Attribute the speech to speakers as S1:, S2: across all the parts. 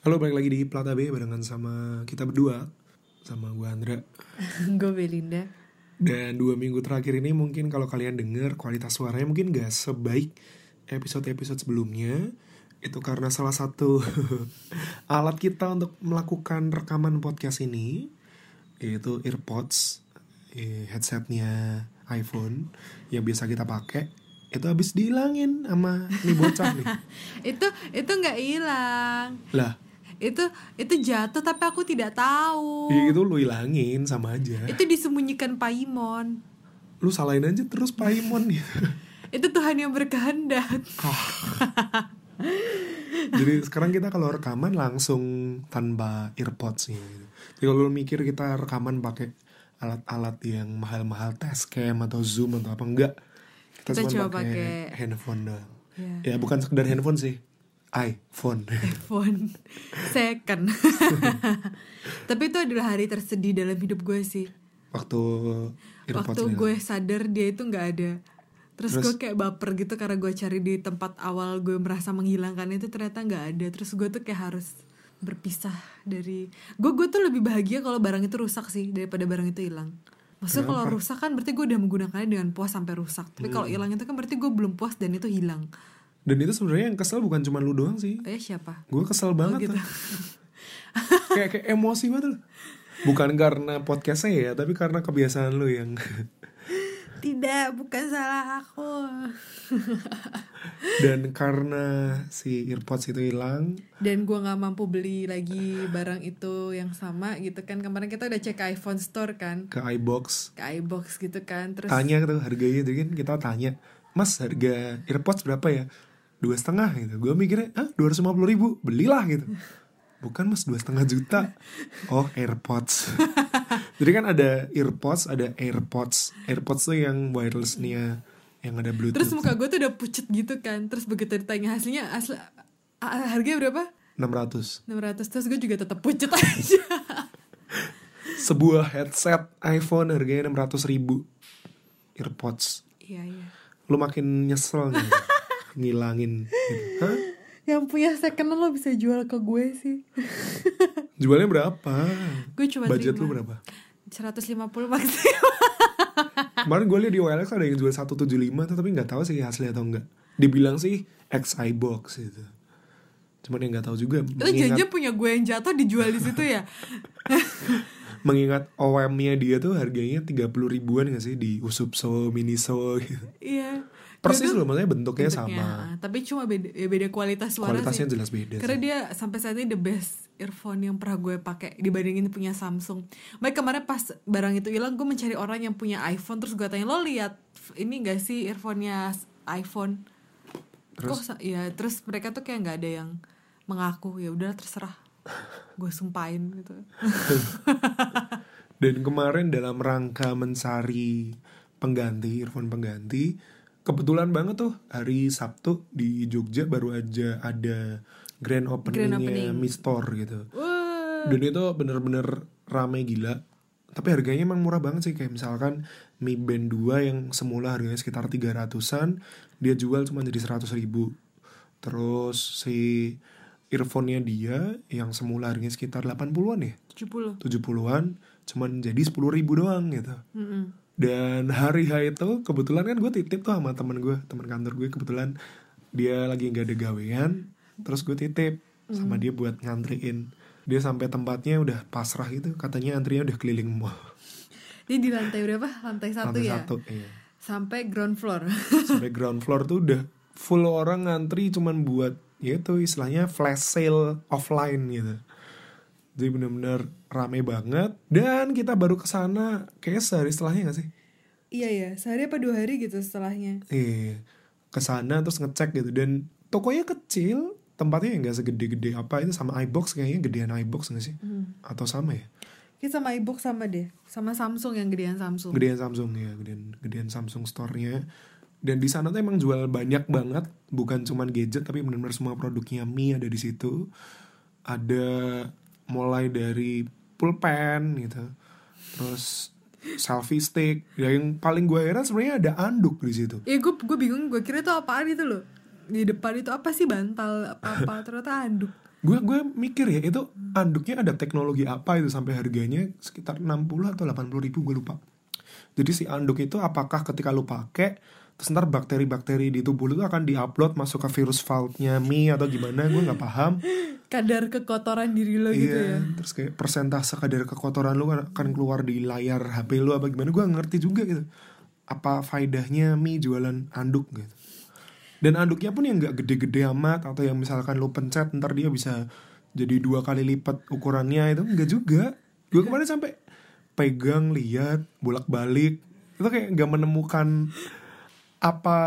S1: Halo, balik lagi di Plata B barengan sama kita berdua sama gue Andra.
S2: gue Belinda
S1: Dan dua minggu terakhir ini mungkin kalau kalian dengar kualitas suaranya mungkin gak sebaik episode-episode sebelumnya. Itu karena salah satu alat kita untuk melakukan rekaman podcast ini yaitu earpods, eh, headsetnya iPhone yang biasa kita pakai itu habis dihilangin sama nih bocah nih.
S2: itu itu nggak hilang
S1: Lah,
S2: itu itu jatuh tapi aku tidak tahu
S1: ya itu lu hilangin sama aja.
S2: itu disembunyikan Paimon
S1: Lu salahin aja terus Paimon gitu.
S2: itu Tuhan yang berkehendak
S1: Jadi sekarang kita kalau rekaman langsung tanpa earpods nih. Jadi kalau lu mikir kita rekaman pakai alat-alat yang mahal-mahal Tascam atau Zoom atau apa enggak. Kita,
S2: Kita
S1: cuma
S2: coba
S1: pakai
S2: pakai-
S1: handphone doang.
S2: Ya.
S1: Ya bukan sekedar handphone sih. iPhone.
S2: iPhone second tapi itu adalah hari tersedih dalam hidup gue sih
S1: Waktu earpods
S2: waktu
S1: hilang.
S2: gue sadar dia itu nggak ada terus,
S1: Terus?
S2: gue kayak baper gitu karena gue cari di tempat awal gue merasa menghilangkan itu ternyata nggak ada terus gue tuh kayak harus berpisah dari gue gue tuh lebih bahagia kalau barang itu rusak sih daripada barang itu hilang maksudnya kalau rusak kan berarti gue udah menggunakannya dengan puas sampai rusak tapi kalau hilang itu kan berarti gue belum puas dan itu hilang
S1: Dan itu sebenarnya yang kesel bukan cuma lu doang sih.
S2: eh siapa
S1: Gue kesel banget
S2: gitu.
S1: tuh. kayak, kayak emosi banget lu. Bukan karena podcastnya ya, tapi karena kebiasaan lu yang
S2: tidak bukan salah aku
S1: Dan karena si earpods itu hilang,
S2: dan gue nggak mampu beli lagi barang itu yang sama gitu kan kemarin kita udah cek iPhone store kan
S1: ke iBox,
S2: ke iBox gitu kan terus
S1: tanya tuh harganya tuh kan kita tanya, Mas harga earpods berapa ya? Dua setengah gitu. Gue mikirnya, ah dua ratus ribu, belilah gitu. Bukan mas dua setengah juta. Oh airpods. Jadi kan ada earpods, ada airpods. Airpods tuh yang wirelessnya yang ada bluetooth.
S2: terus muka gue tuh udah pucet gitu kan terus begitu ditanya hasilnya asli a- a- harganya berapa
S1: 600
S2: 600 terus gue juga tetap pucet aja
S1: Sebuah headset iPhone harganya 600 ribu. Earpods.
S2: iya iya
S1: lu makin nyesel nih ngilangin gitu. Hah?
S2: yang punya second lo bisa jual ke gue sih
S1: jualnya berapa
S2: gue cuma
S1: budget lu
S2: terima
S1: berapa
S2: 150 maksimal
S1: kemarin gue liat di OLX ada yang jual 175 tuh tapi nggak tahu sih hasilnya atau enggak dibilang sih XI box gitu cuman yang nggak tahu juga
S2: itu
S1: mengingat
S2: janjinya punya gue yang jatuh dijual di situ ya
S1: mengingat OM-nya dia tuh harganya 30 ribuan gak sih di Usupso, Miniso gitu.
S2: iya
S1: Persis
S2: Gue tuh
S1: loh maksudnya bentuknya,
S2: bentuknya,
S1: sama.
S2: ah, tapi cuma beda, ya beda kualitas suara
S1: Kualitasnya
S2: sih
S1: jelas beda.
S2: Karena
S1: sih.
S2: dia sampai saat ini the best earphone yang pernah gue pakai dibandingin punya Samsung. Baik kemarin pas barang itu hilang gue mencari orang yang punya iPhone terus gue tanya lo lihat ini gak sih earphone-nya s- iPhone?
S1: Terus?
S2: Kok sa- ya terus mereka tuh kayak nggak ada yang mengaku ya udah terserah. gue sumpahin gitu.
S1: Dan kemarin dalam rangka mencari pengganti, earphone pengganti, kebetulan banget tuh hari Sabtu di Jogja baru aja ada grand openingnya
S2: opening.
S1: Mi Store gitu.
S2: Wah,
S1: Dan itu bener-bener rame gila. Tapi harganya emang murah banget sih kayak misalkan Mi Band 2 yang semula harganya sekitar 300-an, dia jual cuma jadi 100 ribu. Terus si earphone-nya dia yang semula harganya sekitar 80-an ya,
S2: 70.
S1: 70-an cuman jadi 10.000 ribu doang gitu
S2: Mm-mm.
S1: dan hari H itu kebetulan kan gue titip tuh sama temen gue temen kantor gue kebetulan dia lagi nggak ada gawean terus gue titip sama
S2: Hmm.
S1: dia buat ngantriin dia sampai tempatnya udah pasrah gitu katanya antrinya udah keliling mall
S2: Dia di lantai berapa? Lantai satu
S1: lantai
S2: ya.
S1: satu iya.
S2: Sampai ground floor.
S1: sampai ground floor tuh udah full orang ngantri cuman buat ya itu istilahnya flash sale offline gitu jadi bener-bener rame banget dan kita baru kesana kayaknya sehari setelahnya gak sih
S2: iya ya, sehari apa dua hari gitu setelahnya.
S1: Iya, kesana terus ngecek gitu dan tokonya kecil tempatnya yang gak segede-gede apa itu sama iBox kayaknya gedean iBox gak sih atau sama ya
S2: Kita sama iBook sama deh, sama Samsung yang gedean Samsung.
S1: gedean Samsung ya gedean gedean Samsung store-nya dan di sana tuh emang jual banyak banget bukan cuman gadget tapi benar-benar semua produknya Mi ada di situ ada mulai dari pulpen gitu terus selfie stick ya yang paling gue heran sebenarnya ada anduk di situ
S2: Ya gue gue bingung, gue kira itu apaan itu loh. Di depan itu apa sih bantal apa apa ternyata anduk.
S1: gue gue mikir ya itu anduknya ada teknologi apa itu sampai harganya sekitar 60 atau 80 ribu gue lupa jadi si anduk itu apakah ketika lu pakai terus ntar bakteri-bakteri di tubuh lu tuh akan diupload masuk ke virus filenya mi atau gimana gue nggak paham
S2: kadar kekotoran diri lo gitu ya
S1: Iya, terus kayak persentase kadar kekotoran lu kan akan keluar di layar HP lu apa gimana gue ngerti juga gitu apa faedahnya mie jualan anduk gitu dan anduknya pun yang nggak gede-gede amat atau yang misalkan lu pencet ntar dia bisa jadi dua kali lipat ukurannya itu enggak juga
S2: Iya.
S1: gue kemarin sampai pegang lihat bolak-balik itu kayak nggak menemukan apa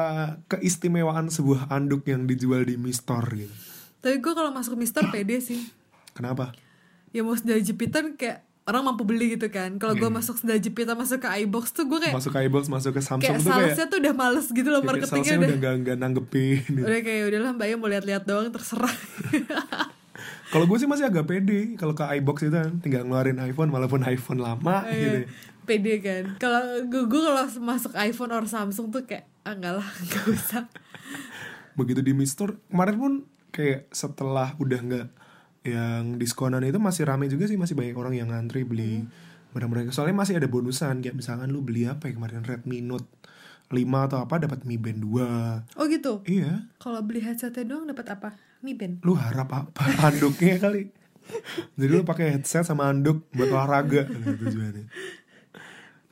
S1: keistimewaan sebuah anduk yang dijual di mistor gitu
S2: tapi gue kalau masuk Mister pede sih
S1: kenapa
S2: ya mau sendal jepitan kayak orang mampu beli gitu kan kalau gue masuk sendal jepitan masuk ke iBox tuh gue kayak
S1: Iya. masuk ke iBox masuk ke Samsung
S2: kayak
S1: tuh kayak Iya,
S2: salesnya tuh udah males gitu loh
S1: kayak
S2: marketingnya
S1: salesnya
S2: udah
S1: udah nggak nggak nanggepin gitu.
S2: udah kayak udahlah mbak ya mau lihat-lihat doang terserah
S1: Kalau gue sih masih agak pede kalau ke iBox itu kan tinggal ngeluarin iPhone walaupun iPhone lama gitu.
S2: Iya, pede kan kalau gue gue kalau masuk iPhone or Samsung tuh kayak ah, enggak lah nggak usah
S1: Begitu di Mi Store kemarin pun kayak setelah udah nggak yang diskonan itu masih rame juga sih masih banyak orang yang ngantri
S2: Hmm.
S1: beli barang mereka soalnya masih ada bonusan kayak misalkan lu beli apa ya kemarin Redmi Note 5 atau apa dapat Mi Band 2
S2: oh gitu
S1: iya
S2: kalau beli headsetnya doang dapat apa Mi Band
S1: lu harap apa anduknya kali jadi lu pakai headset sama anduk buat olahraga gitu tujuannya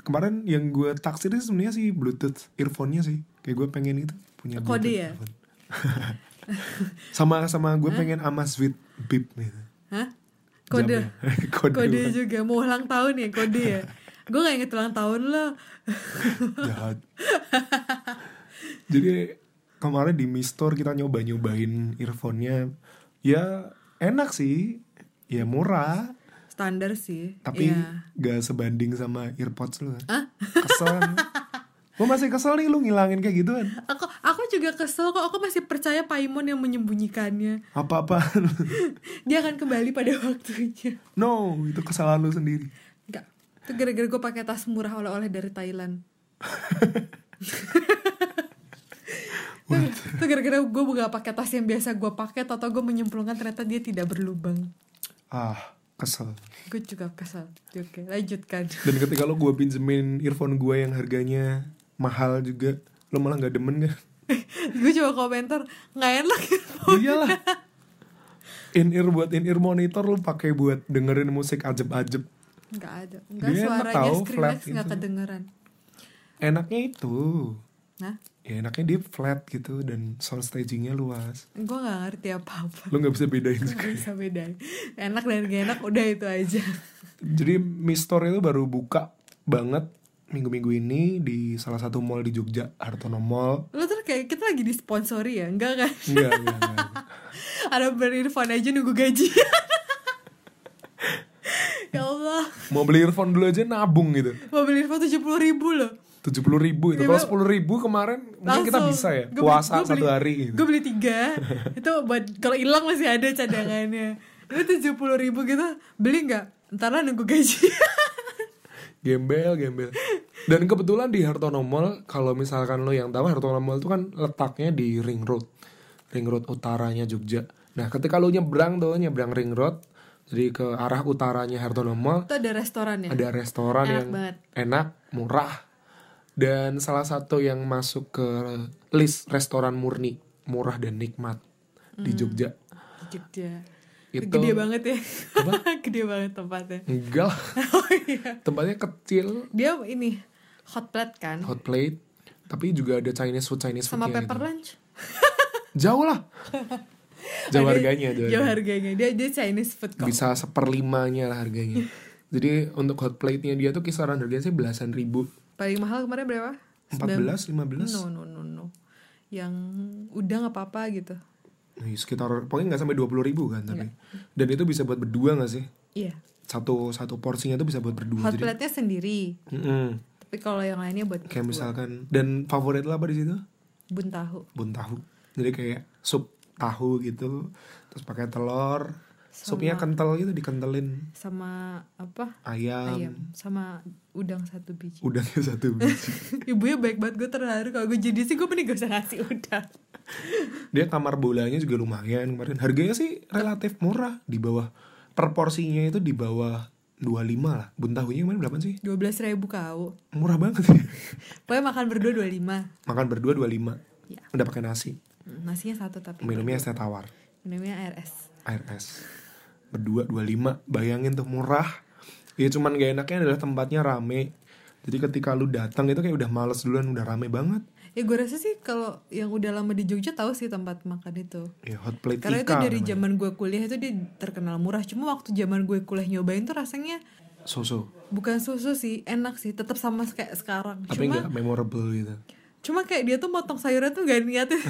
S1: kemarin yang gue taksir itu sebenarnya sih bluetooth earphone-nya sih kayak gue pengen gitu punya
S2: Kode
S1: Bluetooth
S2: ya?
S1: earphone. sama sama gue pengen Amazfit Beep gitu.
S2: hah kode
S1: Jamnya. kode,
S2: kode, juga mau ulang tahun ya kode ya gue gak inget ulang tahun lo
S1: jahat jadi kemarin di Mi Store kita nyoba nyobain earphone-nya ya enak sih ya murah
S2: standar sih
S1: tapi
S2: Iya.
S1: gak sebanding sama earpods lu kan kesel gue masih kesel nih lu ngilangin kayak gitu, kan? gituan
S2: aku aku juga kesel kok aku masih percaya Paimon yang menyembunyikannya
S1: apa-apa
S2: dia akan kembali pada waktunya
S1: no itu kesalahan lu sendiri
S2: Enggak. Itu gara-gara gue pakai tas murah oleh-oleh dari Thailand. Itu- Itu gara-gara gue gak pakai tas yang biasa gue pakai atau gue menyemplungkan ternyata dia tidak berlubang.
S1: ah kesel
S2: Gue juga kesal. Oke, lanjutkan.
S1: dan ketika lu gue pinjemin earphone gue yang harganya mahal juga lu malah nggak demen kan
S2: gue coba komentar, nggak enak.
S1: Oh, iyalah in ear buat in ear monitor lu pakai buat dengerin musik ajeb-ajeb
S2: Nggak ada. Nggak
S1: Dia enak
S2: suaranya
S1: tahu,
S2: Skrillex
S1: flat
S2: nggak
S1: gitu.
S2: kedengeran.
S1: enaknya itu
S2: Nah,
S1: ya enaknya dia flat gitu dan sound stagingnya luas
S2: gue nggak ngerti apa-apa.
S1: lu nggak bisa bedain
S2: Nggak bisa bedain. Enak dan gak enak udah itu aja.
S1: Jadi Mistor itu baru buka banget minggu-minggu ini di salah satu mall di Jogja, Hartono Mall. Iya,
S2: Lo tuh kayak kita lagi disponsori ya, enggak kan?
S1: Enggak, enggak, enggak.
S2: ada brand earphone aja nunggu gaji ya Allah
S1: Mau beli earphone dulu aja nabung gitu.
S2: mau beli earphone tujuh puluh ribu loh
S1: 70 ribu itu. Kalau 10 ribu kemarin mungkin kita bisa ya. Puasa satu hari gitu.
S2: gue beli tiga itu buat kalau hilang masih ada cadangannya itu tujuh puluh ribu gitu beli nggak ntar lah nunggu gaji
S1: Gembel, gembel. Dan kebetulan di Hartono Mall, kalau misalkan lo yang tahu Hartono Mall itu kan letaknya di Ring Road. Ring Road utaranya Jogja. Nah ketika lo nyebrang tuh, nyebrang Ring Road. Jadi ke arah utaranya Hartono Mall.
S2: itu ada ya? restorannya
S1: ada restoran
S2: Iya. Enak
S1: yang
S2: banget.
S1: enak, murah, dan salah satu yang masuk ke list restoran murni, murah dan nikmat di Jogja.
S2: Jogja
S1: Itu-
S2: Hmm. gede banget ya gede banget tempatnya
S1: Enggak, lah,
S2: oh iya
S1: tempatnya kecil,
S2: dia ini hot plate kan
S1: hot plate, tapi juga ada Chinese food Chinese food
S2: sama pepper lunch
S1: Jauh lah. Jauh
S2: Ada-
S1: harganya, jauh
S2: jauh
S1: harganya.
S2: harganya dia dia Chinese food kok
S1: bisa seperlimanya lah harganya. Jadi untuk hot plate-nya dia tuh kisaran harganya sih belasan ribu.
S2: paling mahal kemarin berapa
S1: 14, 15.
S2: No no no no. Yang udang apa apa gitu.
S1: Nih, sekitar pokoknya nggak sampai 20 ribu kan tapi. Dan itu bisa buat berdua nggak sih?
S2: Iya.
S1: satu satu porsinya tuh bisa buat berdua
S2: Hot
S1: jadi
S2: plate-nya sendiri.
S1: Mm-mm.
S2: Tapi kalau yang lainnya buat
S1: kayak misalkan dan favorit lo apa di situ
S2: bun tahu.
S1: bun tahu jadi kayak sup tahu gitu terus pakai telur Supnya kental gitu dikentelin
S2: sama apa
S1: ayam,
S2: ayam sama udang satu biji
S1: udangnya satu biji.
S2: ibunya baik banget gue terharu kalau gue jadi sih gue mending gak usah ngasih udang
S1: Dia kamar bolanya juga lumayan kemarin. Harganya sih relatif murah di bawah per porsinya itu di bawah 25 lah. Bun tahunya kemarin berapa sih?
S2: dua belas ribu kau
S1: Murah banget ya.
S2: pokoknya makan berdua dua lima
S1: Makan berdua 25.
S2: Iya.
S1: Udah pakai nasi.
S2: nasinya satu tapi
S1: Minumnya es teh tawar.
S2: minumnya air es
S1: air es berdua 25 bayangin tuh murah ya cuman gak enaknya adalah tempatnya rame jadi ketika lu datang itu kayak udah males duluan udah rame banget
S2: ya gue rasa sih kalau yang udah lama di Jogja tahu sih tempat makan itu
S1: ya hot plate
S2: karena itu
S1: Tika
S2: dari
S1: namanya.
S2: zaman gue kuliah itu dia terkenal murah cuma waktu zaman gue kuliah nyobain tuh rasanya
S1: soso
S2: bukan susu sih enak sih tetap sama kayak sekarang
S1: tapi
S2: cuma
S1: nggak memorable gitu
S2: cuma kayak dia tuh motong sayurnya tuh gak niatin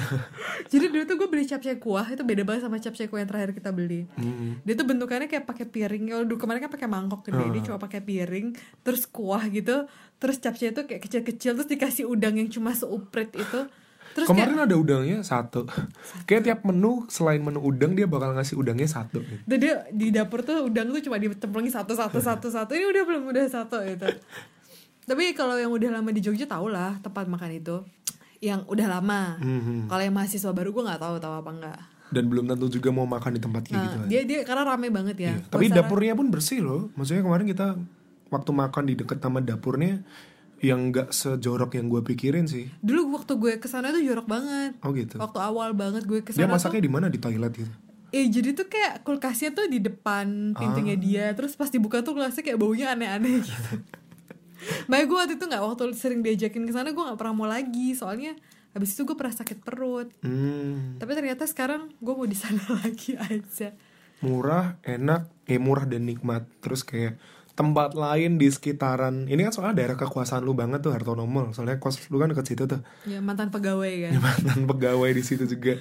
S2: jadi dulu tuh gue beli capcay kuah itu beda banget sama capcay kuah yang terakhir kita beli
S1: Mm.
S2: dia tuh bentukannya kayak pakai piring kalau dulu kemarin kan pakai mangkok gede ini cuma pakai piring terus kuah gitu terus capcay itu kayak kecil-kecil terus dikasih udang yang cuma seuprit itu terus kayak
S1: kemarin ada udangnya satu kayak tiap menu selain menu udang dia bakal ngasih udangnya satu gitu.
S2: dan dia di dapur tuh udang tuh cuma ditempelin satu satu satu satu ini udah belum udah satu gitu tapi kalau yang udah lama di Jogja tau lah tempat makan itu yang udah lama
S1: Mhm.
S2: kalau yang mahasiswa baru gue nggak tahu tahu apa enggak
S1: dan belum tentu juga mau makan di tempat kayak
S2: nah
S1: gitu kan.
S2: dia dia karena rame banget ya
S1: Iya,
S2: Gua
S1: Tapi
S2: saran-
S1: dapurnya pun bersih loh. Maksudnya kemarin kita waktu makan di deket taman dapurnya yang nggak sejorok yang gue pikirin sih.
S2: dulu waktu gue kesana tuh jorok banget
S1: Oh gitu.
S2: waktu awal banget gue
S1: Dia
S2: kesana tuh-
S1: masaknya di mana di toilet gitu.
S2: Eh jadi tuh kayak kulkasnya tuh di depan
S1: Ah.
S2: pintunya dia Terus pas dibuka tuh kulkasnya kayak baunya aneh-aneh gitu Makanya gue waktu itu gak waktu sering diajakin ke sana gue gak pernah mau lagi Soalnya habis itu gue pernah sakit perut
S1: Hmm,
S2: Tapi ternyata sekarang gue mau di sana lagi aja
S1: murah, enak, eh murah dan nikmat. Terus kayak tempat lain di sekitaran ini kan soalnya daerah kekuasaan lu banget tuh Hartono Mall soalnya kos lu kan deket situ tuh
S2: Ya mantan pegawai kan
S1: mantan pegawai di situ juga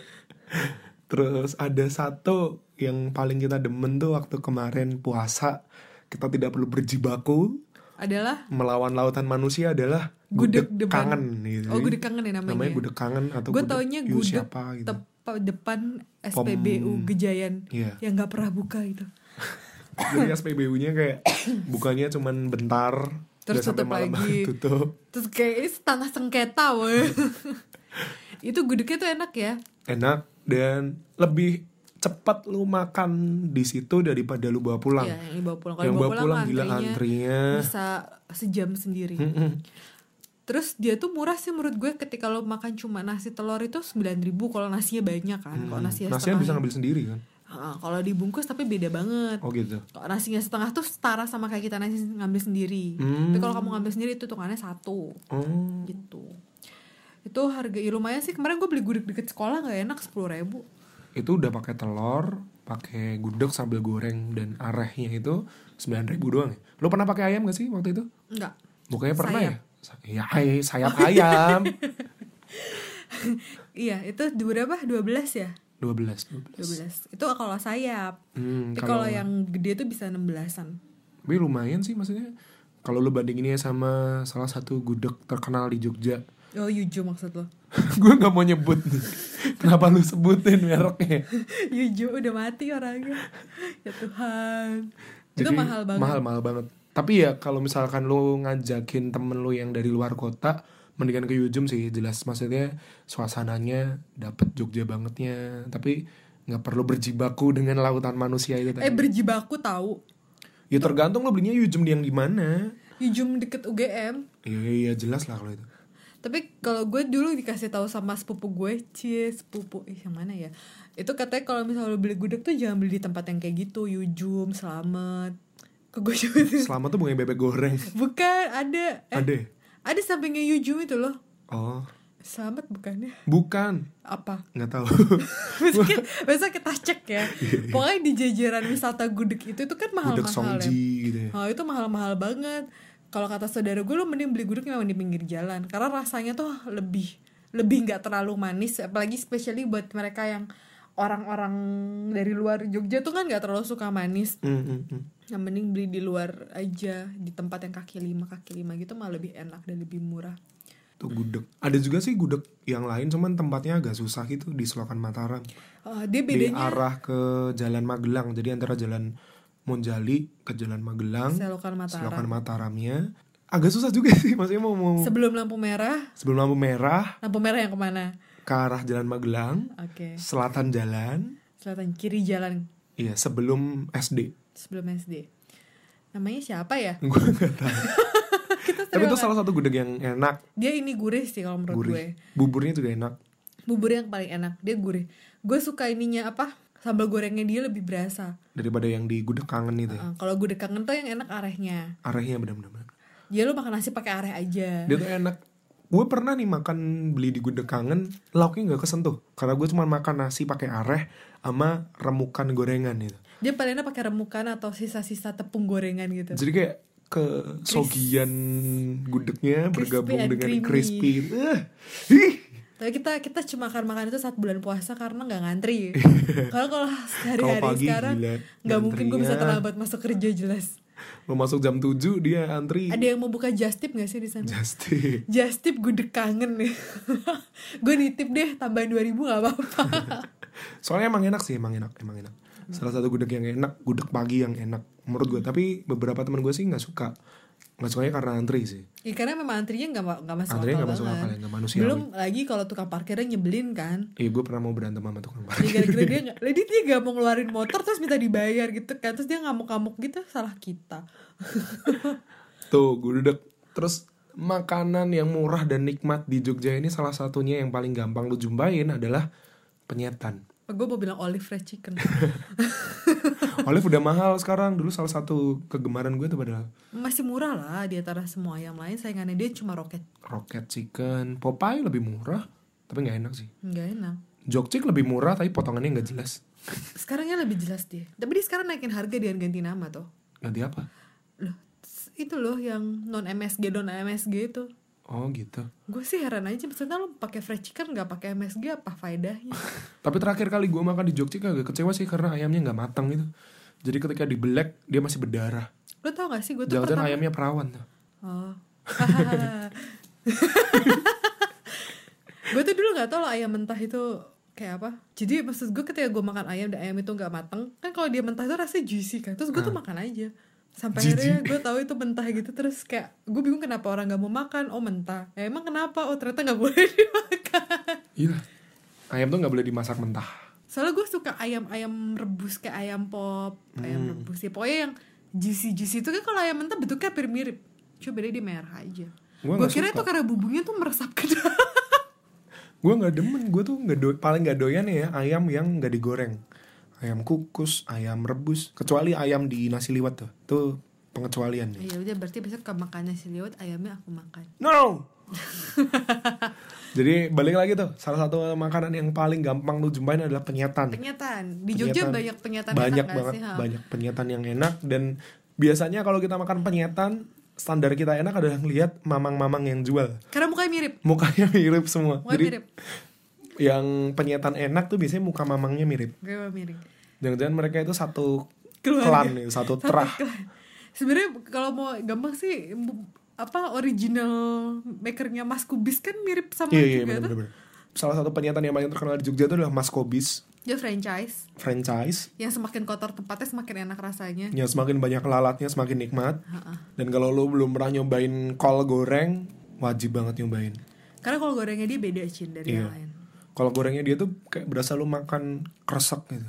S1: terus ada satu yang paling kita demen tuh waktu kemarin puasa kita tidak perlu berjibaku
S2: Adalah
S1: melawan lautan manusia adalah
S2: Gudeg
S1: gudeg,
S2: depan.
S1: kangen gitu.
S2: Oh gudeg kangen ya namanya,
S1: namanya gudeg kangen atau
S2: Gue taunya
S1: Yu
S2: gudeg
S1: siapa gitu.
S2: tepa- depan SPBU Gejayan
S1: Iya.
S2: Yang gak pernah buka gitu
S1: Jadi SPBU-nya kayak bukannya cuman bentar
S2: Terus
S1: udah sampai
S2: tutup
S1: malam
S2: lagi.
S1: tutup.
S2: Terus kayak ini setengah sengketa woy. Itu gudegnya tuh enak ya
S1: Enak dan lebih cepat lu makan di situ daripada lu bawa pulang.
S2: Iya, yang dibawa pulang. Kalau
S1: yang
S2: dibawa
S1: bawa pulang, gila
S2: antrinya
S1: antrinya. Hmm.
S2: Bisa sejam sendiri.
S1: Mm-mm.
S2: Terus dia tuh murah sih menurut gue ketika lo makan cuma nasi telur itu 9000 kalau nasinya banyak kan. Kalau nasinya,
S1: Hmm. Nasinya bisa
S2: setengah.
S1: ngambil sendiri kan.
S2: Ah, kalau dibungkus tapi beda banget.
S1: Oh gitu.
S2: Kalau nasinya setengah tuh setara sama kayak kita nasi ngambil sendiri.
S1: Hmm.
S2: Tapi kalau kamu ngambil sendiri itu tukannya satu
S1: Oh,
S2: gitu. Itu harga ya lumayan sih. Kemarin gue beli gudeg deket sekolah nggak enak 10.000 ribu.
S1: itu udah pakai telur, pakai gudeg sambal goreng dan arehnya itu 9000 doang. ya? Lu pernah pakai ayam gak sih waktu itu?
S2: Enggak.
S1: Bukannya pernah
S2: Sayap.
S1: ya? Sa- Ya, ay- sayap ayam.
S2: Iya, itu berapa? 12 ya?
S1: 12. 12.
S2: 12. Itu kalau sayap.
S1: Hmm,
S2: Tapi
S1: kalau
S2: kalau yang gede tuh bisa 16-an.
S1: tapi lumayan sih maksudnya. Kalau lu bandinginnya sama salah satu gudeg terkenal di Jogja.
S2: Oh, Yujo maksud lo.
S1: gue nggak mau nyebut nih. Kenapa lu sebutin mereknya?
S2: Yujo udah mati orangnya. Ya Tuhan. itu
S1: Jadi,
S2: mahal banget.
S1: Mahal mahal banget. Tapi ya kalau misalkan lu ngajakin temen lu yang dari luar kota, mendingan ke Yujum sih jelas maksudnya suasananya dapet Jogja bangetnya. Tapi nggak perlu berjibaku dengan lautan manusia itu tadi.
S2: Eh berjibaku tahu.
S1: Ya tergantung lo belinya Yujum yang di mana.
S2: Yujum deket UGM.
S1: Iya iya jelas lah kalau itu.
S2: Tapi kalau gue dulu dikasih tahu sama sepupu gue, cie sepupu ih yang mana ya? Itu katanya kalau misalnya lo beli gudeg tuh jangan beli di tempat yang kayak gitu, Yujum, Selamat. Kok gue coba
S1: Selama tuh bukan bebek goreng.
S2: Eh? Bukan, ada eh,
S1: Ada. ya?
S2: ada sampingnya Yujum itu loh.
S1: Oh,
S2: Selamat bukannya
S1: bukan.
S2: apa?
S1: Nggak tahu.
S2: besok, kita- besok kita cek
S1: Iya,
S2: ya pokoknya di jajaran wisata gudeg itu itu kan mahal
S1: Gudeg
S2: mahal
S1: songji
S2: ya
S1: gitu ya.
S2: oh, itu mahal mahal banget kalau kata saudara gue lo mending beli gudeg memang di pinggir jalan karena rasanya tuh lebih lebih nggak terlalu manis apalagi especially buat mereka yang orang-orang dari luar Jogja tuh kan nggak terlalu suka manis
S1: Mm, mm, mm.
S2: yang mending beli di luar aja di tempat yang kaki lima kaki lima gitu malah lebih enak dan lebih murah
S1: Itu gudeg. Ada juga sih gudeg yang lain cuman tempatnya agak susah gitu di Selokan Mataram.
S2: Eh, dia
S1: Di
S2: bedanya
S1: arah ke Jalan Magelang. Jadi antara Jalan Monjali ke Jalan Magelang,
S2: selokan Mataram.
S1: Selokan Mataramnya agak susah juga sih maksudnya mau, mau
S2: Sebelum lampu merah,
S1: sebelum lampu merah
S2: lampu merah yang kemana?
S1: ke arah Jalan Magelang,
S2: Oke,
S1: selatan jalan,
S2: selatan kiri jalan
S1: iya sebelum SD.
S2: sebelum SD. Namanya siapa ya?
S1: Gue nggak tahu.
S2: Kita
S1: Tapi itu
S2: serial-
S1: salah satu gudeg yang enak,
S2: dia ini gurih sih kalau menurut gue.
S1: gurih. Buburnya juga enak.
S2: Bubur yang paling enak, dia gurih. Gue suka ininya apa? Sambal gorengnya dia lebih berasa.
S1: daripada yang di gudeg kangen itu ya.
S2: Eh, kalau gue kangen tuh yang enak arehnya.
S1: arahnya benar-benar
S2: Jadi lu makan nasi pakai areh aja.
S1: dia tuh enak gue pernah nih makan beli di gudeg kangen lauknya nggak kesentuh karena gue cuma makan nasi pakai areh sama remukan gorengan gitu
S2: Dia paling enak pakai remukan atau sisa-sisa tepung gorengan gitu.
S1: jadi kayak ke sogian gudegnya bergabung
S2: and
S1: dengan
S2: creamy.
S1: crispy Eh, ih.
S2: Tapi kita kita cuma akan makan itu saat bulan puasa karena nggak ngantri. Kalau kalau
S1: Kalau
S2: hari-hari
S1: pagi,
S2: sekarang
S1: gila. iya.
S2: nggak mungkin gue bisa
S1: Ngantrinya.
S2: terlambat masuk kerja jelas.
S1: lo masuk jam 7 dia antri
S2: Ada yang mau buka jastip nggak sih di sana?
S1: Justin
S2: Jastip gudeg kangen nih. gue nitip deh tambahan 2000 nggak apa-apa.
S1: soalnya emang enak sih emang enak emang enak salah satu gudeg yang enak gudeg pagi yang enak menurut gue tapi beberapa teman gue sih nggak suka nggak sukanya karena antri sih
S2: Ya, karena memang antrinya nggak ma- nggak masuk
S1: Antrinya
S2: akal
S1: nggak masuk
S2: banget.
S1: akal ya, nggak manusiawi.
S2: Belum lagi kalau tukang parkirnya nyebelin kan.
S1: Iya gue pernah mau berantem sama tukang
S2: Ya,
S1: parkir
S2: gara-gara dia nggak, jadi dia nggak mau ngeluarin motor terus minta dibayar gitu kan, terus dia ngamuk-ngamuk gitu salah kita.
S1: Tuh gudeg Terus makanan yang murah dan nikmat di Jogja ini salah satunya yang paling gampang lu jumpain adalah penyetan
S2: gue mau bilang olive fried chicken.
S1: Olive udah mahal sekarang Dulu salah satu kegemaran gue tuh padahal
S2: Masih murah lah di antara semua yang lain, saingannya dia cuma roket.
S1: Rocket chicken Popeye lebih murah Tapi gak enak sih
S2: Nggak enak.
S1: Jogcik lebih murah tapi potongannya gak jelas
S2: Sekarangnya lebih jelas dia. Tapi dia sekarang naikin harga dengan ganti nama tuh.
S1: Ganti apa?
S2: Loh, s- itu loh yang non MSG, non MSG itu.
S1: Oh gitu
S2: Gue sih heran aja, maksudnya lo pakai fried chicken nggak pakai MSG apa faedahnya?
S1: Tapi terakhir kali gue makan di Jogcik agak kecewa sih Karena ayamnya gak matang gitu Jadi ketika dibelek dia masih berdarah
S2: Lo tau gak sih gue tuh
S1: Jangan-jangan
S2: pertama
S1: ayamnya perawan tuh
S2: Oh. gue tuh dulu nggak tau loh ayam mentah itu kayak apa. Jadi maksud gue ketika gue makan ayam dan ayam itu nggak mateng, kan kalau dia mentah itu rasanya juicy kan. Terus gue tuh makan aja. Sampai
S1: Jijik.
S2: akhirnya gue tahu itu mentah gitu terus kayak gue bingung kenapa orang nggak mau makan. Oh mentah. Ya, emang kenapa? Oh ternyata nggak boleh dimakan.
S1: Iya. Ayam tuh nggak boleh dimasak mentah.
S2: Soalnya gue suka ayam-ayam rebus kayak ayam pop,
S1: Hmm.
S2: ayam rebus ya. Pokoknya yang juicy-juicy itu kan kalau ayam mentah bentuknya hampir mirip. Coba deh dia merah aja.
S1: Gua
S2: Gue
S1: nggak
S2: kira
S1: suka.
S2: itu karena bumbunya tuh meresap ke dalam.
S1: Gue nggak demen, gue tuh nggak do- paling nggak doyan ya ayam yang nggak digoreng. Ayam kukus, ayam rebus, kecuali ayam di nasi liwet tuh. Itu pengecualian nih.
S2: Ya udah berarti besok ke makannya si liwet ayamnya aku makan.
S1: No. Jadi balik lagi tuh, salah satu makanan yang paling gampang lu jumpain adalah penyetan.
S2: Penyataan di Jogja
S1: Penyetan.
S2: banyak penyataan
S1: banyak
S2: enak nggak
S1: banget
S2: sih, ha?
S1: banyak penyetan yang enak dan biasanya kalau kita makan penyetan standar kita enak adalah ngelihat mamang-mamang yang jual
S2: Karena mukanya mirip.
S1: mukanya mirip semua
S2: Mukanya
S1: jadi
S2: mirip.
S1: yang penyetan enak tuh biasanya muka mamangnya mirip.
S2: Gue mirip.
S1: Jangan-jangan mereka itu satu
S2: Keluarga.
S1: klan nih, satu terah.
S2: Kelan. Sebenarnya kalau mau gampang sih bu- apa original makernya Mas Kubis kan mirip
S1: Iya,
S2: sama
S1: iya,
S2: juga tuh.
S1: bener-bener. Salah satu penyetan yang paling terkenal di Jogja itu adalah Mas Kobis
S2: Dia franchise
S1: franchise.
S2: yang semakin kotor tempatnya semakin enak rasanya.
S1: Ya semakin banyak lalatnya semakin nikmat.
S2: Ha-ha.
S1: Dan kalau lo belum pernah nyobain kol goreng, wajib banget nyobain.
S2: Karena kalau gorengnya dia beda Cin dari
S1: Iya.
S2: yang lain.
S1: Kalau gorengnya dia tuh kayak berasa lo makan kresek gitu.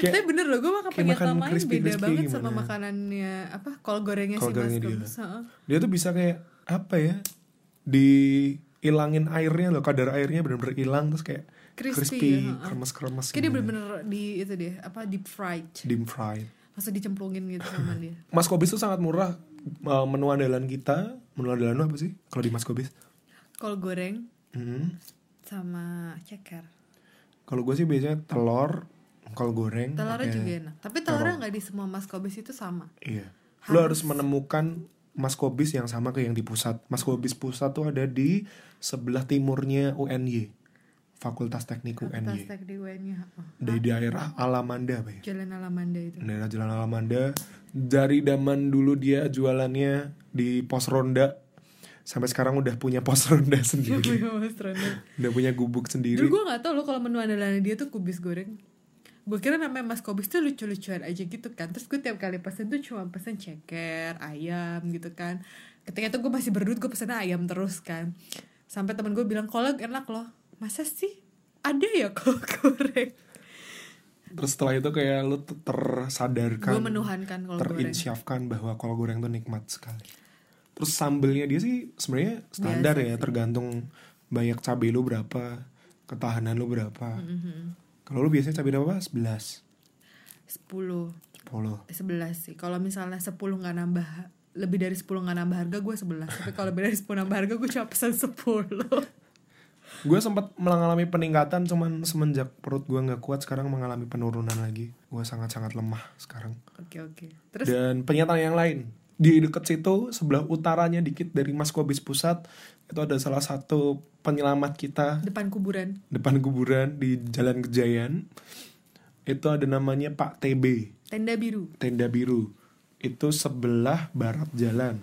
S1: Kayak-
S2: Tapi bener loh, gue makan
S1: kayak makan
S2: penyataan lain
S1: crispy-
S2: beda
S1: crispy
S2: banget sama
S1: gimana?
S2: makanannya apa kol gorengnya
S1: Kol
S2: si Mas
S1: gorengnya dia.
S2: Kubis. Heeh.
S1: Dia tuh bisa kayak apa ya? Dihilangin airnya loh, kadar airnya bener-bener hilang terus kayak
S2: Crispy,
S1: crispy,
S2: ya, ha-ha.
S1: kremes-kremes.
S2: Kayak dia
S1: gitu.
S2: bener-bener di itu deh apa deep fried,
S1: dim fried.
S2: langsung dicemplungin gitu sama dia.
S1: Mas Kobis tuh sangat murah Eh, menu andalan kita. Menu andalan lu apa sih? Kalau di Mas Kobis?
S2: Kol goreng
S1: Hmm.
S2: sama ceker.
S1: Kalau gue sih biasanya telur, kol goreng. pakai-
S2: Telurnya juga enak. Tapi telurnya nggak di semua Mas Kobis itu sama.
S1: Iya. Lu harus menemukan Mas Kobis yang sama kayak yang di pusat. Mas Kobis pusat tuh ada di sebelah timurnya UNY. Fakultas Teknik UNY.
S2: Tastek di UNY. heeh.
S1: Di daerah Alamanda, Pak. ya?
S2: Jalan Alamanda itu.
S1: Daerah Jalan Alamanda. Dari zaman dulu dia jualannya di pos ronda. sampai sekarang udah punya pos ronda
S2: Dia
S1: sendiri
S2: punya mas Rondo.
S1: udah punya gubuk sendiri
S2: Dulu gue gak tau loh kalau menu andalannya dia tuh kubis goreng Gue kira namanya mas kubis tuh lucu-lucuan aja gitu kan Terus gue tiap kali pesen tuh cuma pesen ceker, ayam gitu kan Ketika itu gue masih berduit gue pesennya ayam terus kan Sampai temen gue bilang kolak enak loh Masa sih? Ada ya kolak goreng?
S1: terus setelah itu kayak lu t- tersadarkan
S2: Gue menuhankan kolak goreng
S1: terinsyafkan bahwa kol goreng tuh nikmat sekali. Terus sambelnya dia sih sebenarnya standar
S2: Biasa
S1: ya, tergantung banyak cabai lu berapa, ketahanan lu berapa.
S2: Mm-hmm.
S1: Kalau lu biasanya cabai berapa? 11,
S2: 10
S1: 10.
S2: 11 eh, sih. Kalau misalnya 10 nggak nambah lebih dari 10 nggak nambah harga gue 11 tapi kalau lebih dari 10 nambah harga gue cuma pesan 10
S1: Gue sempat mengalami peningkatan cuman semenjak perut gua nggak kuat sekarang mengalami penurunan lagi. Gue sangat-sangat lemah sekarang.
S2: oke oke terus
S1: Dan pernyataan yang lain di deket situ sebelah utaranya dikit dari Mas Kobis Pusat itu ada salah satu penyelamat kita
S2: depan kuburan
S1: depan kuburan di Jalan Kejayan itu ada namanya Pak TB
S2: tenda biru
S1: tenda biru itu sebelah barat jalan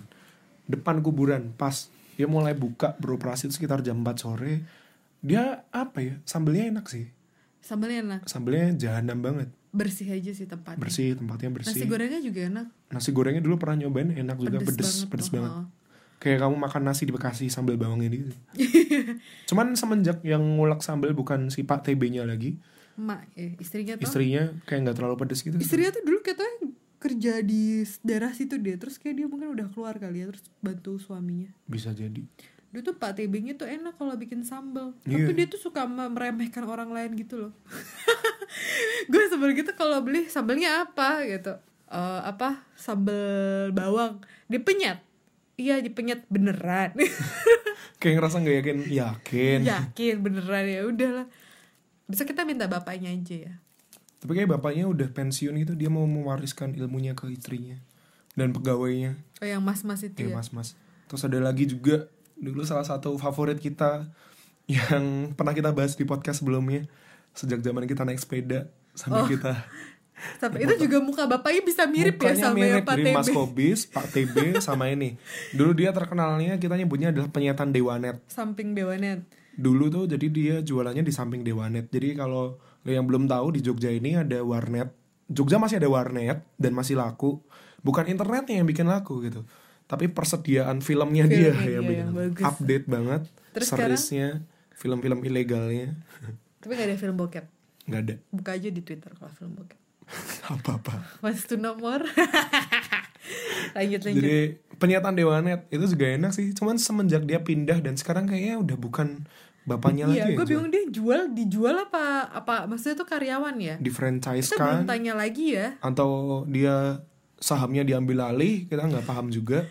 S1: depan kuburan pas dia mulai buka beroperasi itu sekitar jam 4 sore dia apa ya sambelnya enak sih
S2: sambelnya enak
S1: sambelnya jahanam banget
S2: bersih aja sih tempatnya
S1: bersih tempatnya
S2: nasi
S1: bersih nasi,
S2: gorengnya juga enak
S1: gorengnya dulu pernah nyobain enak juga pedes
S2: banget
S1: pedes
S2: tuh,
S1: banget
S2: oh.
S1: kayak kamu makan nasi di Bekasi sambal bawangnya gitu cuman semenjak yang ngulek sambal bukan si Pak TB-nya lagi
S2: emak eh, istrinya tuh
S1: istrinya kayak nggak terlalu pedes gitu
S2: istrinya tuh dulu katanya kerja di daerah situ dia terus kayak dia mungkin udah keluar kali ya terus bantu suaminya
S1: bisa jadi
S2: Dulu tuh Pak Tebingnya tuh enak kalau bikin sambal.
S1: Iya.
S2: Tapi dia tuh suka me- meremehkan orang lain gitu loh. gue sebel gitu kalau beli sambalnya apa gitu. Eh, apa sambal bawang dipenyet. Iya dipenyet beneran.
S1: kayak ngerasa nggak yakin yakin
S2: Yakin beneran ya udahlah. Bisa kita minta bapaknya aja ya.
S1: tapi kayak bapaknya udah pensiun gitu dia mau mewariskan ilmunya ke istrinya dan pegawainya
S2: Oh yang mas-mas itu
S1: kayak
S2: ya.
S1: mas mas terus ada lagi juga dulu salah satu favorit kita yang pernah kita bahas di podcast sebelumnya sejak zaman kita naik sepeda sampai kita
S2: Sampai itu juga muka bapaknya bisa mirip
S1: mukanya
S2: ya sama
S1: mirip
S2: yang Pak
S1: dari Mas
S2: Tebe.
S1: Kobis, Pak TB sama ini. Dulu dia terkenalnya kita nyebutnya adalah penyetan Dewanet.
S2: Samping Dewanet.
S1: dulu tuh jadi dia jualannya di samping Dewanet. Jadi kalau lo yang belum tahu di Jogja ini ada warnet. Jogja masih ada warnet dan masih laku. Bukan internetnya yang bikin laku gitu. Tapi persediaan filmnya dia
S2: Filmnya
S1: yang
S2: dia
S1: bikin
S2: yang
S1: laku.
S2: bagus.
S1: update banget.
S2: Terus
S1: seriesnya, film-film ilegalnya
S2: Tapi gak ada film bokep.
S1: nggak ada
S2: Buka aja di Twitter kalau film bokep.
S1: apa-apa.
S2: Wants to know more? lanjut lanjut.
S1: Jadi penyataan Dewanet itu juga enak sih. Cuman semenjak dia pindah dan sekarang kayaknya udah bukan bapaknya
S2: iya,
S1: lagi. ya,
S2: gue
S1: Jul.
S2: bingung dia jual dijual apa apa maksudnya tuh karyawan ya? Kita belum
S1: Difranchise-kan.
S2: tanya lagi ya.
S1: kan. atau dia sahamnya diambil alih kita nggak paham juga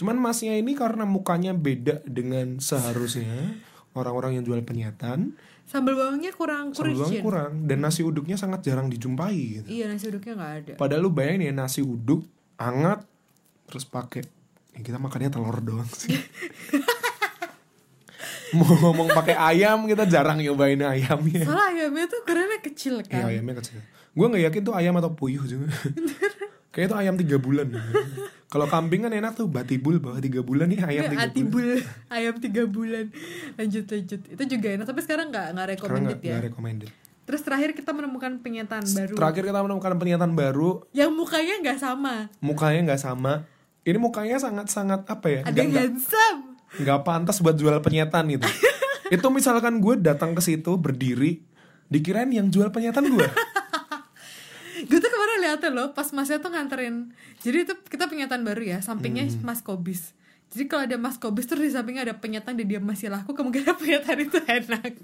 S1: cuman masnya ini karena mukanya beda dengan seharusnya orang-orang yang jual penyetan
S2: Sambal bawangnya kurang
S1: sambal bawang
S2: kurang.
S1: kurang dan nasi uduknya sangat jarang dijumpai gitu.
S2: Iya nasi uduknya nggak ada.
S1: padahal lu bayangin ya nasi uduk hangat terus pakai ya kita makannya telur doang sih mau ngomong pakai ayam kita jarang nyobain ayamnya
S2: Soalnya ayamnya ya, tuh ukurannya kecil
S1: Iya
S2: kan.
S1: ayamnya kecil. Gue nggak yakin tuh ayam atau puyuh juga. Kayaknya itu ayam tiga bulan. Kalau kambing kan enak tuh batibul bahwa tiga bulan nih ayam
S2: Kayak
S1: tiga bulan.
S2: atibul ayam tiga bulan lanjut lanjut itu juga enak tapi sekarang nggak nggak
S1: Karena
S2: recommended
S1: nggak
S2: ya
S1: nggak recommended.
S2: terus terakhir kita menemukan penyataan baru
S1: Terakhir kita menemukan pernyataan baru,
S2: yang mukanya nggak sama
S1: mukanya nggak sama. Ini mukanya sangat-sangat apa ya?
S2: ada
S1: nggak-
S2: yang
S1: nggak-
S2: handsome
S1: nggak pantas buat jual penyetan gitu. itu misalkan gue datang ke situ berdiri, dikirain yang jual penyetan gue.
S2: gue tuh kemarin liatnya loh pas masnya tuh nganterin jadi itu kita penyataan baru ya sampingnya
S1: Hmm.
S2: mas kobis jadi kalau ada mas kobis terus di sampingnya ada penyataan dan dia masih laku kemungkinan penyataan itu enak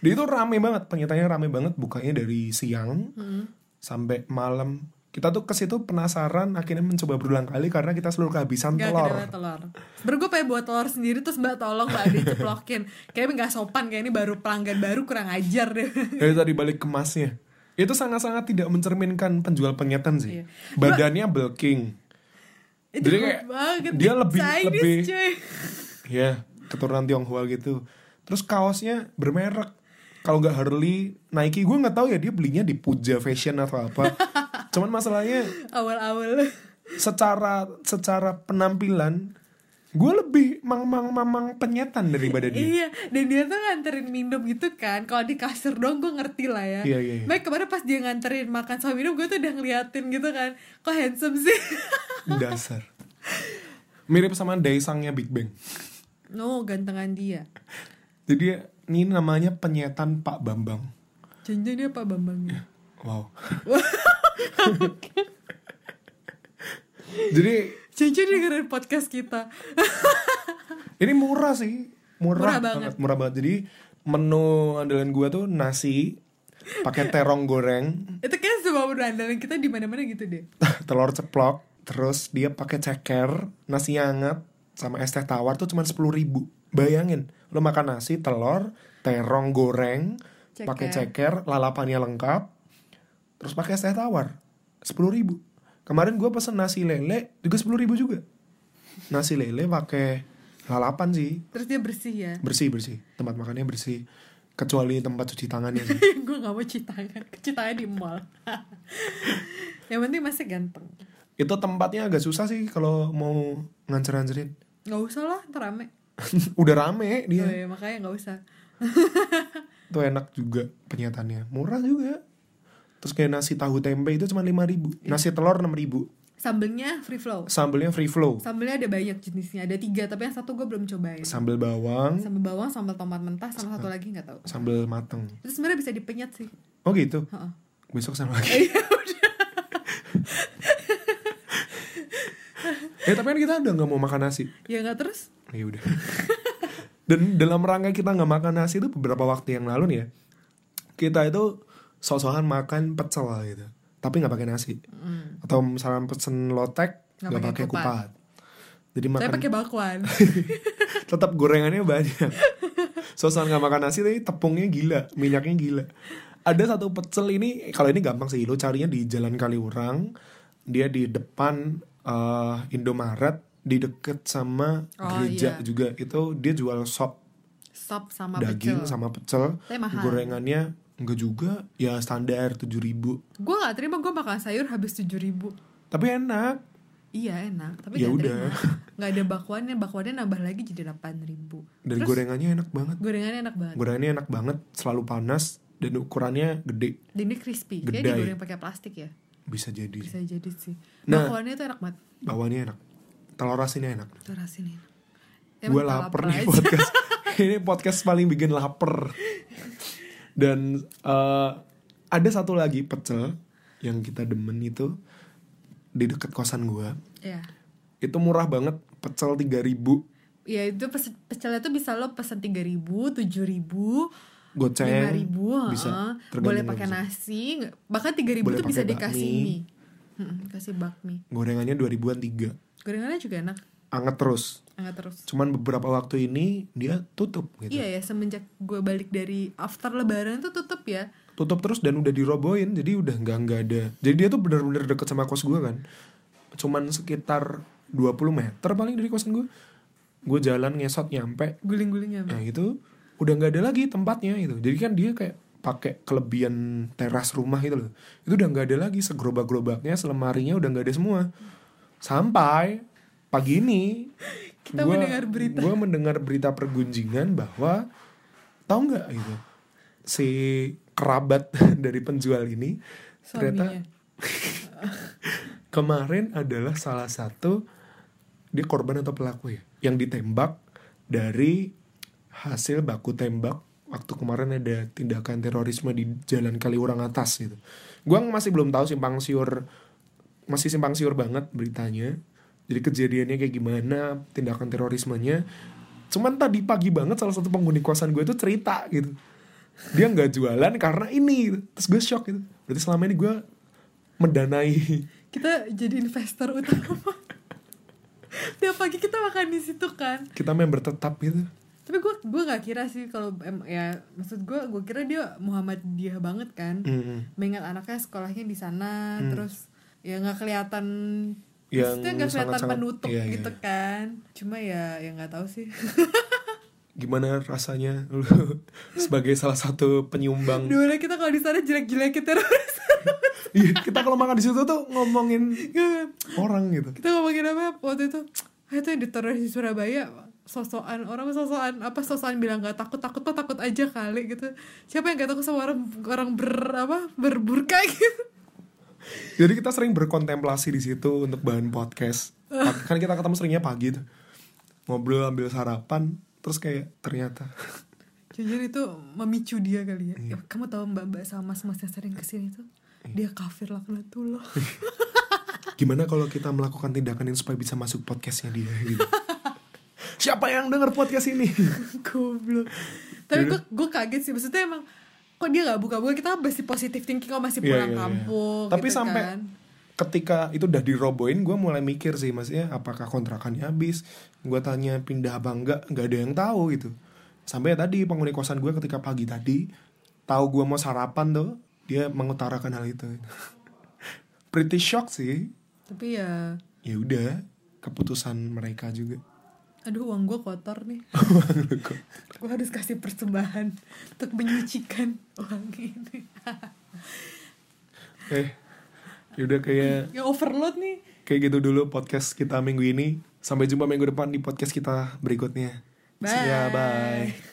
S1: Dia itu rame banget, penyetannya rame banget, bukanya dari siang
S2: Hmm.
S1: sampai malam. Kita tuh ke situ penasaran, akhirnya mencoba berulang kali karena kita selalu kehabisan
S2: nggak
S1: telur.
S2: kedalam telur sebenernya gue pengen buat telur sendiri terus mbak tolong mbak diceplokin kayaknya nggak sopan kayak ini baru pelanggan baru kurang ajar deh
S1: Dari tadi balik kemasnya. Itu sangat-sangat tidak mencerminkan penjual penyetan sih.
S2: Iya.
S1: Badannya bulking.
S2: itu
S1: Jadi
S2: good
S1: kayak
S2: banget
S1: dia lebih-
S2: Chinese,
S1: lebih-
S2: cuy.
S1: Ya, keturunan Tionghoa gitu. Terus kaosnya bermerek. Kalau nggak Harley, Nike, gue nggak tahu ya dia belinya di Puja Fashion atau apa. Cuman masalahnya
S2: awal-awal
S1: secara secara penampilan Gue lebih mang-mang-mang penyetan daripada dia.
S2: Iya, dan dia tuh nganterin minum gitu kan. Kalau di kasur dong gue ngerti lah ya.
S1: Iya, iya, iya.
S2: Baik kemarin pas dia nganterin makan sama minum gue tuh udah ngeliatin gitu kan. Kok handsome sih?
S1: Dasar. Mirip sama Daesangnya Big Bang.
S2: no, gantengan dia.
S1: Jadi ini namanya penyetan Pak Bambang.
S2: Jangan dia Pak
S1: Iya.
S2: Bambangnya.
S1: Wow. Jadi
S2: Jangan dengerin podcast kita.
S1: ini murah sih, murah,
S2: Murah banget.
S1: murah banget. Jadi menu andalan gua tuh nasi pakai terong goreng,
S2: Itu kan semua berandalan kita di mana-mana gitu deh.
S1: telur ceplok, terus dia pakai ceker, nasi hangat sama es teh tawar tuh cuma sepuluh ribu. Bayangin, lo makan nasi, telur, terong goreng, pakai ceker, lalapannya lengkap, terus pakai es teh tawar, sepuluh ribu. Kemarin gua pesen nasi lele juga sepuluh ribu juga. Nasi lele pakai lalapan sih,
S2: Terus dia bersih ya.
S1: bersih bersih, tempat makannya bersih, kecuali tempat cuci tangannya. sih.
S2: gue gak mau cuci tangan. Cuci tangan di mall. Yang penting masih ganteng.
S1: Itu tempatnya agak susah sih kalau mau ngancer-ngancerin.
S2: Gak usah lah, ntar rame.
S1: Udah rame dia.
S2: Oh, iya, makanya gak usah.
S1: itu enak juga penyatannya murah juga terus kayak nasi tahu tempe itu cuma lima ribu
S2: Iya.
S1: nasi telur enam ribu
S2: Sambelnya free flow.
S1: sambelnya free flow
S2: Sambelnya ada banyak jenisnya, ada tiga, tapi yang satu gue belum cobain.
S1: sambel bawang
S2: Sambel bawang, sambel tomat mentah, sama satu lagi nggak tahu.
S1: sambel mateng
S2: Itu sebenarnya bisa dipenyet sih.
S1: oh gitu
S2: Heeh.
S1: besok sama lagi
S2: Iya,
S1: eh tapi kan kita udah nggak mau makan nasi
S2: Ya nggak terus?
S1: ya udah dan dalam rangka kita nggak makan nasi itu beberapa waktu yang lalu nih ya kita itu sosokan makan pecel gitu tapi nggak pakai nasi
S2: Mm.
S1: atau misalkan pesen lotek
S2: Nggak
S1: nggak
S2: pakai
S1: pakai
S2: kupat.
S1: kupat jadi
S2: Saya
S1: makan
S2: pakai bakwan.
S1: tetap gorengannya banyak sosan nggak makan nasi tapi tepungnya gila minyaknya gila ada satu pecel ini kalau ini gampang sih lo carinya di Jalan Kaliurang dia di depan eh, Indomaret di deket sama
S2: Oh,
S1: gereja
S2: iya.
S1: juga itu dia jual sop
S2: Sop sama
S1: daging
S2: pecel.
S1: sama pecel
S2: Tapi mahal.
S1: gorengannya enggak juga ya standar 7000 ribu
S2: Gue nggak terima gue makan sayur habis tujuh ribu.
S1: tapi enak
S2: Iya enak, tapi
S1: Ya
S2: nggak
S1: udah.
S2: terima. Nggak ada bakwannya, bakwannya nambah lagi jadi delapan ribu.
S1: dan
S2: Terus
S1: gorengannya enak banget
S2: gorengannya enak banget.
S1: gorengannya enak banget selalu panas dan ukurannya gede
S2: Dan ini crispy. Kayak
S1: Gedai.
S2: digoreng pakai plastik ya.
S1: bisa jadi
S2: Bisa jadi sih.
S1: Nah.
S2: Bakwannya tuh enak banget.
S1: bawahnya enak telur asinnya enak
S2: Tuh rasanya enak. Emang
S1: gue
S2: kita
S1: lapar nih
S2: Ya, aja.
S1: podcast ini podcast paling bikin lapar dan eh, ada satu lagi pecel yang kita demen itu di deket kosan gue
S2: Iya.
S1: itu murah banget pecel 3000
S2: ya itu pes- pecelnya tuh bisa lo pesen tiga ribu tujuh ribu lima
S1: goceng
S2: ribu
S1: bisa tergantung
S2: boleh
S1: lo
S2: pakai
S1: bisa.
S2: nasi nggak- bahkan tiga ribu
S1: Boleh
S2: tuh bisa
S1: pakai
S2: dikasih
S1: bakmi.
S2: mie Mm-mm, kasih bakmi
S1: gorengannya 2000-an tiga
S2: gorengannya juga enak
S1: anget terus
S2: hangat terus
S1: cuman beberapa waktu ini dia tutup gitu
S2: iya ya semenjak gue balik dari after lebaran tuh tutup ya
S1: tutup terus dan udah dirobohin jadi udah nggak nggak ada jadi dia tuh bener-bener deket sama kos gue kan cuman sekitar 20 meter paling dari kosan gue gue jalan ngesot nyampe
S2: guling-gulingnya
S1: nah itu udah nggak ada lagi tempatnya gitu jadi kan dia kayak pakai kelebihan teras rumah gitu loh itu udah nggak ada lagi segerobak-gerobaknya selemarinya udah nggak ada semua sampai pagi ini
S2: Kita mendengar berita.
S1: gue mendengar berita pergunjingan bahwa tahu nggak gitu si kerabat dari penjual ini
S2: suaminya
S1: ternyata kemarin adalah salah satu dia korban atau pelaku ya yang ditembak dari hasil baku tembak waktu kemarin ada tindakan terorisme di Jalan Kaliurang atas gitu. Gua masih belum tahu simpang siur masih simpang siur banget beritanya. Jadi kejadiannya kayak gimana, tindakan terorismenya. Cuman tadi pagi banget salah satu penghuni kosan gue itu cerita gitu. Dia nggak jualan karena ini. gitu. Terus gue shock gitu. Berarti selama ini gue mendanai
S2: kita jadi investor utama tiap pagi kita makan di situ kan
S1: kita member tetap gitu.
S2: tapi gue gue nggak kira sih kalau em- ya maksud gue gue kira dia Muhammadiyah banget kan
S1: Mm.
S2: mengingat anaknya sekolahnya di sana terus ya nggak kelihatan
S1: Hmm. Yang
S2: maksudnya nggak kelihatan
S1: sangat-sangat-
S2: penutup
S1: iya, iya. Hmm.
S2: gitu kan cuma ya ya nggak tahu sih
S1: gimana rasanya lu sebagai salah satu penyumbang
S2: dulu kita kalau di sana jelek-jelekin teroris
S1: Iya, kita kalau makan di situ tuh ngomongin orang gitu
S2: kita ngomongin kan. apa waktu itu "Ah, itu editor di Surabaya sosokan orang sosokan apa sosokan bilang gak takut takut mah takut aja kali gitu siapa yang gak takut sama orang orang ber apa berburka gitu
S1: Jadi kita sering berkontemplasi di situ untuk bahan podcast. Kan kita ketemu seringnya pagi tuh. Ngobrol ambil sarapan, terus kayak ternyata
S2: jujur itu memicu dia kali ya
S1: Iya.
S2: Ya, kamu tahu mbak mbak sama mas mas yang sering kesini tuh dia kafir lah kena tuh
S1: gimana kalau kita melakukan tindakan ini supaya bisa masuk podcastnya dia gitu. Siapa yang denger podcast ini?
S2: goblok
S1: Iya.
S2: tapi gue gue kaget sih maksudnya emang kok dia gak buka-buka kita kan masih positive thinking kok masih
S1: Iya,
S2: pulang
S1: iya, iya.
S2: kampung
S1: Tapi
S2: gitu
S1: sampai
S2: kan.
S1: ketika itu udah dirobohin, gue mulai mikir sih maksudnya apakah kontrakannya habis? Gue tanya pindah apa enggak? Nggak ada yang tahu gitu. Sampai tadi penghuni kosan gue ketika pagi tadi tahu gue mau sarapan tuh, dia mengutarakan hal itu. Pretty shock sih.
S2: tapi ya
S1: Ya udah, keputusan mereka juga.
S2: aduh uang gue kotor nih gue harus kasih persembahan untuk menyucikan uang ini
S1: Eh, ya udah kayak
S2: ya overload nih
S1: kayak gitu dulu podcast kita minggu ini. Sampai jumpa minggu depan di podcast kita berikutnya. See ya,
S2: Bye.
S1: bye.